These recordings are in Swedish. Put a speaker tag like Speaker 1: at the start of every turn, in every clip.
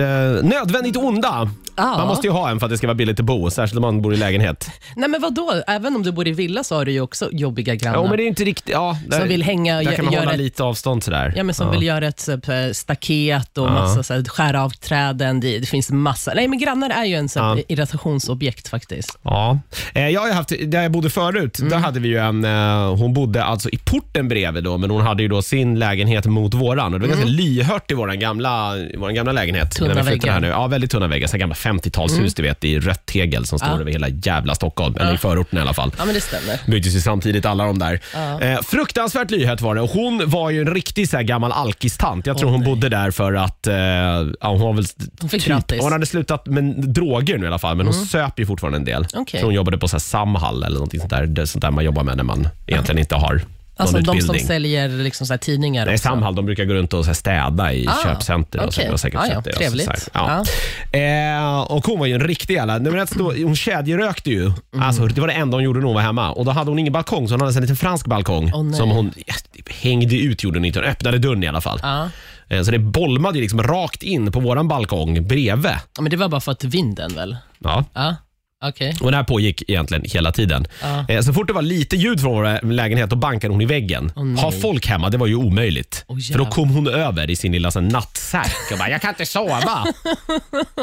Speaker 1: Eh, nödvändigt onda.
Speaker 2: Ja.
Speaker 1: Man måste ju ha en för att det ska vara billigt att bo, särskilt om man bor i lägenhet.
Speaker 2: Nej men vadå, även om du bor i villa så har du ju också jobbiga grannar.
Speaker 1: Ja, men det är inte riktigt... Ja, där,
Speaker 2: Som vill hänga och
Speaker 1: där
Speaker 2: gö-
Speaker 1: kan man
Speaker 2: göra
Speaker 1: hålla
Speaker 2: ett-
Speaker 1: lite avstånd sådär.
Speaker 2: Ja, men som vill göra ett typ, eh, staket och massa, så här, skära av träden. Det, det finns massa. Nej, men grannar är ju en så här,
Speaker 1: Ja.
Speaker 2: irritationsobjekt faktiskt.
Speaker 1: Ja. Eh, Jag har ju haft, där jag bodde förut,
Speaker 2: Mm.
Speaker 1: där hade vi ju en, eh, hon bodde alltså i porten bredvid då, men hon hade ju då sin lägenhet mot våran och det var ganska lyhört i våran gamla, i våran gamla lägenhet.
Speaker 2: Mm. Tunna
Speaker 1: innan vi flyttade
Speaker 2: väggar. Mm.
Speaker 1: Här nu. Ja, väldigt tunna väggar. Så här gamla 50-talshus du vet, i rött tegel som står
Speaker 2: Ja.
Speaker 1: över hela jävla Stockholm, eller i förorten i alla fall.
Speaker 2: Ja, men det stämmer.
Speaker 1: Byggdes ju samtidigt alla de där.
Speaker 2: Ja.
Speaker 1: Eh, fruktansvärt lyhört var det och hon var ju en riktig så här gammal alkistant. Jag tror hon bodde där för att eh, ja, hon var väl typ-
Speaker 2: Hon fick gratis.
Speaker 1: hon hade slutat med droger nu i alla fall, men hon söp ju fortfarande en del.
Speaker 2: Okej.
Speaker 1: Så hon jobbade på så här Samhall eller någonting sånt där, det sånt där man jobbar med när man egentligen inte har någon
Speaker 2: Alltså de som
Speaker 1: utbildning.
Speaker 2: säljer liksom, så här, tidningar.
Speaker 1: Nej,
Speaker 2: också.
Speaker 1: Samhall de brukar gå runt och så här städa i
Speaker 2: Ah,
Speaker 1: köpcenter. Och så,
Speaker 2: okej.
Speaker 1: Det var säkert
Speaker 2: Ah, ja,
Speaker 1: sett det, och så-
Speaker 2: trevligt. Ah.
Speaker 1: så här, ja. Eh, och hon var ju en riktig jävla... Nej, men rätt stor, hon kedjerökte
Speaker 2: Mm.
Speaker 1: ju. Alltså, det var det enda hon gjorde när hon var hemma. Och Då hade hon ingen balkong, så hon hade en liten fransk balkong.
Speaker 2: Åh, nej.
Speaker 1: som hon ja, hängde ut, gjorde hon inte. Hon öppnade dörren i alla fall.
Speaker 2: Ja.
Speaker 1: Eh, Så det bolmade ju liksom rakt in på våran balkong bredvid.
Speaker 2: Ja, men det var bara för att vinden väl?
Speaker 1: Ja.
Speaker 2: Ja, okej.
Speaker 1: Och det här pågick egentligen hela tiden.
Speaker 2: Ja.
Speaker 1: Eh, Så fort det var lite ljud från vår lägenhet, då bankade hon i väggen.
Speaker 2: nej.
Speaker 1: ha folk hemma, det var ju omöjligt.
Speaker 2: Åh,
Speaker 1: För då
Speaker 2: jävlar.
Speaker 1: kom hon över i sin lilla sån, nattsäck och bara, jag kan inte sova.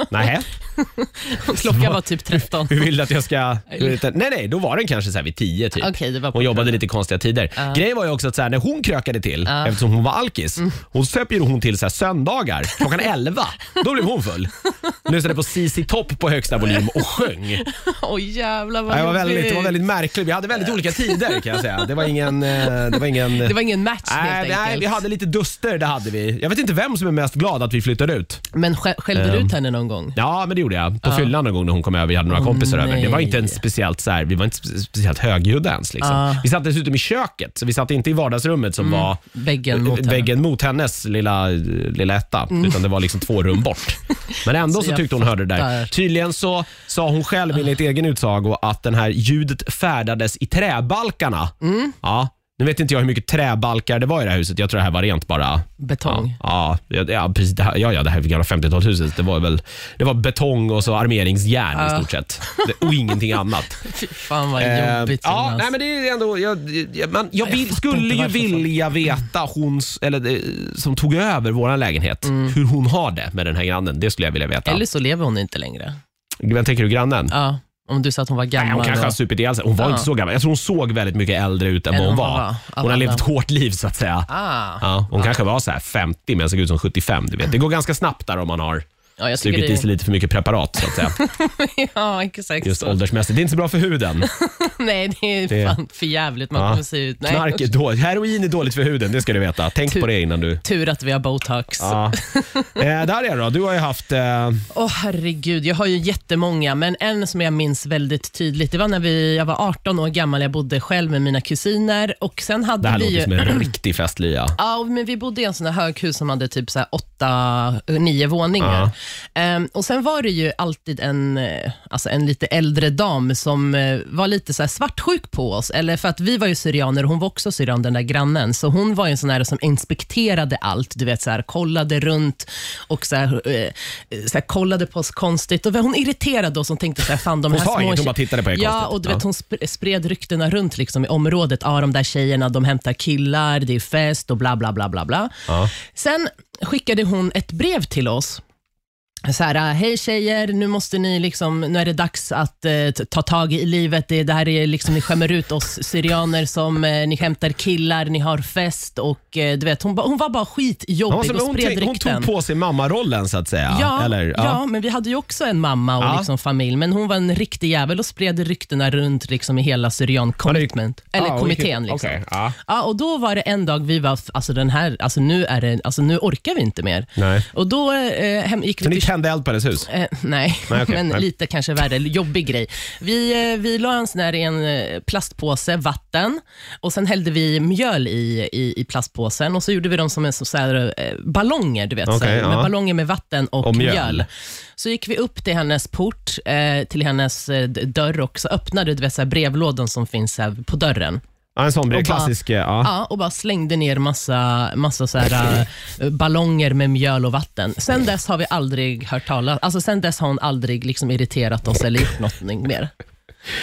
Speaker 1: nej,
Speaker 2: Klockan var typ 13.
Speaker 1: hur vill du att jag ska... hur vill du att- Nej, nej, då var den kanske så här vid tio typ.
Speaker 2: Okej, det var på
Speaker 1: Hon jobbade lite konstiga tider. Grejen var ju också att så här, när hon krökade till, eftersom hon var alkis,
Speaker 2: Mm.
Speaker 1: hon söp ju hon till så här, söndagar klockan 11. Då blev hon full. Lyssnade på CC Topp på högsta volym och sjöng.
Speaker 2: Åh jävlar vad
Speaker 1: Ja, det, var väldigt,
Speaker 2: jobbigt.
Speaker 1: det var väldigt märkligt. Vi hade väldigt olika tider kan jag säga. Det var ingen... eh, Det var ingen
Speaker 2: Det var ingen match
Speaker 1: Nej,
Speaker 2: helt
Speaker 1: nej,
Speaker 2: enkelt.
Speaker 1: vi hade lite duster, det hade vi. Jag vet inte vem som är mest glad att vi flyttade ut.
Speaker 2: Men skä- skällde
Speaker 1: Ehm.
Speaker 2: du ut henne någon gång?
Speaker 1: Ja, men det gjorde jag. På fyllan någon gång när hon kom över. Vi hade några kompisar över. Det var inte en
Speaker 2: nej.
Speaker 1: speciellt så här, vi var inte spe- speciellt högljudda ens. Liksom.
Speaker 2: Ja. Mm.
Speaker 1: Vi satt dessutom i köket, så vi satt inte i vardagsrummet som var
Speaker 2: Väggen mot henne. Mm.
Speaker 1: väggen mot hennes lilla, lilla etta, utan det var liksom två rum bort. Men ändå
Speaker 2: Så
Speaker 1: så,
Speaker 2: jag
Speaker 1: tyckte hon hörde det där.
Speaker 2: fattar.
Speaker 1: Tydligen så sa hon själv enligt egen utsago att den här ljudet färdades i träbalkarna.
Speaker 2: Mm.
Speaker 1: Ja, nu vet inte jag hur mycket träbalkar det var i det här huset. Jag tror det här var rent bara
Speaker 2: Betong.
Speaker 1: Ja, ja, ja, precis. Det här, ja, ja, det här gamla 50-talshuset. Det var väl det var betong och så armeringsjärn i stort sett. Det, och ingenting annat.
Speaker 2: Fy fan vad
Speaker 1: Eh,
Speaker 2: jobbigt
Speaker 1: ja,
Speaker 2: Jonas.
Speaker 1: nej, men det är ändå, jag, jag, man, jag, vill,
Speaker 2: fattar
Speaker 1: skulle
Speaker 2: inte
Speaker 1: ju
Speaker 2: varför Mm.
Speaker 1: vilja veta hon s- eller, eh, som tog över vår lägenhet, hur hon har det med den här grannen. Det skulle jag vilja veta.
Speaker 2: Mm. Eller så lever hon inte längre.
Speaker 1: Vem tänker du, grannen?
Speaker 2: Ja, om du sa att hon var gammal.
Speaker 1: Nej, hon kanske har
Speaker 2: och-
Speaker 1: supit ihjäl sig. Hon var
Speaker 2: Ja.
Speaker 1: inte så gammal. Jag tror hon såg väldigt mycket äldre ut än vad hon var.
Speaker 2: av
Speaker 1: Hon har
Speaker 2: alla.
Speaker 1: levt ett hårt liv så att säga.
Speaker 2: Ah. Ja,
Speaker 1: Ja, hon kanske var så här 50 men såg ut som 75. Du vet. Det går ganska snabbt där om man har
Speaker 2: jag tycker
Speaker 1: sugit i sig
Speaker 2: det...
Speaker 1: lite för mycket preparat. Så att säga.
Speaker 2: ja exakt.
Speaker 1: Just
Speaker 2: så.
Speaker 1: åldersmässigt. Det är inte så bra för huden.
Speaker 2: Nej, det är
Speaker 1: Det-
Speaker 2: fan för jävligt man
Speaker 1: Ja.
Speaker 2: kommer se ut. Nej.
Speaker 1: Knark är dåligt. Heroin är dåligt för huden, det ska du veta. Tänk
Speaker 2: Tur.
Speaker 1: på det innan du
Speaker 2: Tur att vi har botox. Åh
Speaker 1: Ja. eh, där är då. Du har ju haft... Eh,
Speaker 2: herregud, jag har ju jättemånga, men en som jag minns väldigt tydligt, det var när vi, jag var 18 år gammal, jag bodde själv med mina kusiner och sen hade
Speaker 1: det här
Speaker 2: vi
Speaker 1: låter
Speaker 2: ju...
Speaker 1: som en riktig festlya.
Speaker 2: Ja, och- men vi bodde i en sån här höghus som hade typ så här åtta, eh, nio våningar. Ehm, och Sen var det ju alltid en, eh, alltså en lite äldre dam som eh, var lite så här svartsjuk på oss. Eller för att Vi var ju syrianer och hon var också syrian, den där grannen. Så Hon var ju en sån här som inspekterade allt. Du vet, så här, kollade runt och så här, eh, så här, kollade på oss konstigt. Och Hon irriterade oss och tänkte så här, fan de
Speaker 1: Hon
Speaker 2: här
Speaker 1: sa
Speaker 2: små
Speaker 1: inget, hon bara
Speaker 2: tje-
Speaker 1: tittade på er
Speaker 2: Ja,
Speaker 1: konstigt.
Speaker 2: och du
Speaker 1: Ja.
Speaker 2: vet, hon sp- spred ryktena runt liksom i området. Ah, de där tjejerna de hämtar killar, det är fest och bla bla bla. bla, bla.
Speaker 1: Ja.
Speaker 2: Sen skickade hon ett brev till oss. Så här, hej tjejer, nu, måste ni liksom, nu är det dags att eh, t- ta tag i livet. Det, det här är liksom, ni skämmer ut oss syrianer som eh, ni hämtar killar, ni har fest och eh, du vet, hon, ba, hon var bara
Speaker 1: Hon, var
Speaker 2: skitjobbig
Speaker 1: som-
Speaker 2: och
Speaker 1: hon,
Speaker 2: spred
Speaker 1: tänk- hon
Speaker 2: rykten.
Speaker 1: tog på sig mammarollen så att säga.
Speaker 2: Ja,
Speaker 1: Eller,
Speaker 2: ja. men vi hade ju också en mamma och
Speaker 1: Ja.
Speaker 2: liksom familj, men hon var en riktig jävel och spred ryktena runt liksom i hela Syrian commitment, eller
Speaker 1: Ja, och
Speaker 2: kommittén.
Speaker 1: vilket-
Speaker 2: Liksom.
Speaker 1: Ah, okej, ja.
Speaker 2: Ja, och då var det en dag vi var, f- alltså, den här, alltså, nu, är det, alltså, nu orkar vi inte mer.
Speaker 1: Nej.
Speaker 2: Och då eh, hem, gick vi
Speaker 1: Så ni
Speaker 2: till
Speaker 1: tände eld på hennes hus?
Speaker 2: Eh, nej,
Speaker 1: Nej, okej,
Speaker 2: men
Speaker 1: nej.
Speaker 2: lite kanske värre. Jobbig grej. Vi, eh, vi la en sån här i en eh, plastpåse, vatten, och sen hällde vi mjöl i, i, i plastpåsen och så gjorde vi dem som en så så här, eh, ballonger, du vet. så här,
Speaker 1: Okej,
Speaker 2: med
Speaker 1: ja.
Speaker 2: Ballonger med vatten och,
Speaker 1: Och mjöl.
Speaker 2: mjöl. Så gick vi upp till hennes port, eh, till hennes eh, d- dörr och så öppnade du vet, så här, brevlådan som finns här på dörren.
Speaker 1: Ja, en sån
Speaker 2: Och
Speaker 1: bred,
Speaker 2: bara-
Speaker 1: klassisk. eh, Ja.
Speaker 2: Ja, och bara slängde ner massa, massa så här, eh, ballonger med mjöl och vatten. Sen dess har vi aldrig hört talas alltså sen dess har hon aldrig liksom irriterat oss eller gjort någonting mer.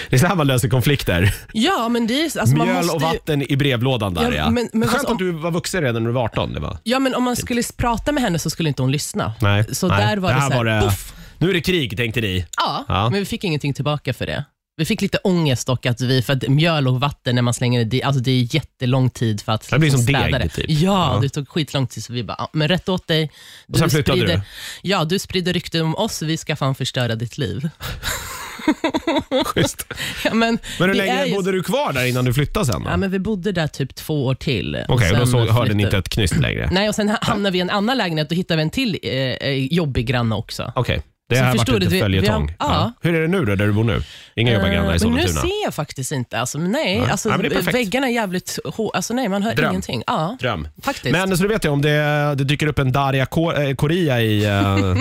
Speaker 1: Det är så här man löser konflikter.
Speaker 2: Ja, men det är alltså, man
Speaker 1: Mjöl
Speaker 2: måste
Speaker 1: och
Speaker 2: ju-
Speaker 1: vatten i brevlådan där
Speaker 2: Ja,
Speaker 1: ja.
Speaker 2: men- men
Speaker 1: Skönt
Speaker 2: alltså,
Speaker 1: att du var vuxen redan när du var 18. Det var.
Speaker 2: Ja, men om man skulle prata med henne så skulle inte hon lyssna.
Speaker 1: Nej.
Speaker 2: Så
Speaker 1: nej.
Speaker 2: där var det,
Speaker 1: här
Speaker 2: så här, poff.
Speaker 1: Nu är det krig tänkte ni.
Speaker 2: Ja,
Speaker 1: Ja.
Speaker 2: men vi fick ingenting tillbaka för det. Vi fick lite ångest och att vi, för att mjöl och vatten när man slänger det, det, alltså det är jättelång tid för att
Speaker 1: Det blir
Speaker 2: liksom
Speaker 1: som deg,
Speaker 2: städa det.
Speaker 1: typ.
Speaker 2: Ja,
Speaker 1: Ja.
Speaker 2: det tog skitlång tid, så vi bara, ja, men rätt åt dig. Du
Speaker 1: sen flyttade du?
Speaker 2: Ja, du sprider rykten om oss, vi ska fan förstöra ditt liv.
Speaker 1: Schysst.
Speaker 2: Ja, men,
Speaker 1: Men hur
Speaker 2: det är
Speaker 1: länge
Speaker 2: ju-
Speaker 1: bodde du kvar där innan du flyttade sen? då?
Speaker 2: Ja, men vi bodde där typ två år till. och
Speaker 1: Okej,
Speaker 2: sen
Speaker 1: då så, hörde ni
Speaker 2: flyttade-
Speaker 1: inte ett knyst längre.
Speaker 2: Nej, och sen ha- hamnade vi i en annan lägenhet och hittade vi en till eh, eh, jobbig granne också.
Speaker 1: Okej, det
Speaker 2: Så
Speaker 1: här har varit
Speaker 2: förstår
Speaker 1: lite
Speaker 2: du, vi- vi har-
Speaker 1: följetong.
Speaker 2: ja.
Speaker 1: Hur är det nu då, där du bor nu? Inga jobbargrannar i
Speaker 2: Eh, men nu
Speaker 1: Sollentuna?
Speaker 2: ser jag faktiskt inte. Alltså, men nej,
Speaker 1: Nej.
Speaker 2: Alltså,
Speaker 1: Nej, men det är perfekt.
Speaker 2: väggarna är jävligt hår. Alltså, nej, man hör
Speaker 1: Dröm.
Speaker 2: ingenting. Ja,
Speaker 1: Dröm.
Speaker 2: faktiskt.
Speaker 1: Men så du vet jag, om det, det dyker upp en Daria Ko- eh, Koria i... eh,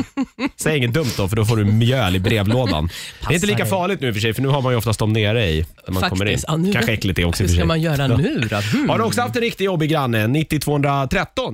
Speaker 1: säg inget dumt då, för då får du mjöl i brevlådan. det är inte lika
Speaker 2: dig.
Speaker 1: farligt nu i och för sig, för nu har man ju oftast dem nere i, när man kommer in.
Speaker 2: Faktiskt. Ja, nu
Speaker 1: Kanske
Speaker 2: vet-
Speaker 1: äckligt det också i
Speaker 2: Hur
Speaker 1: och för
Speaker 2: ska
Speaker 1: sig.
Speaker 2: man göra nu då? Hmm.
Speaker 1: Har du också haft en riktigt jobbig granne? 90213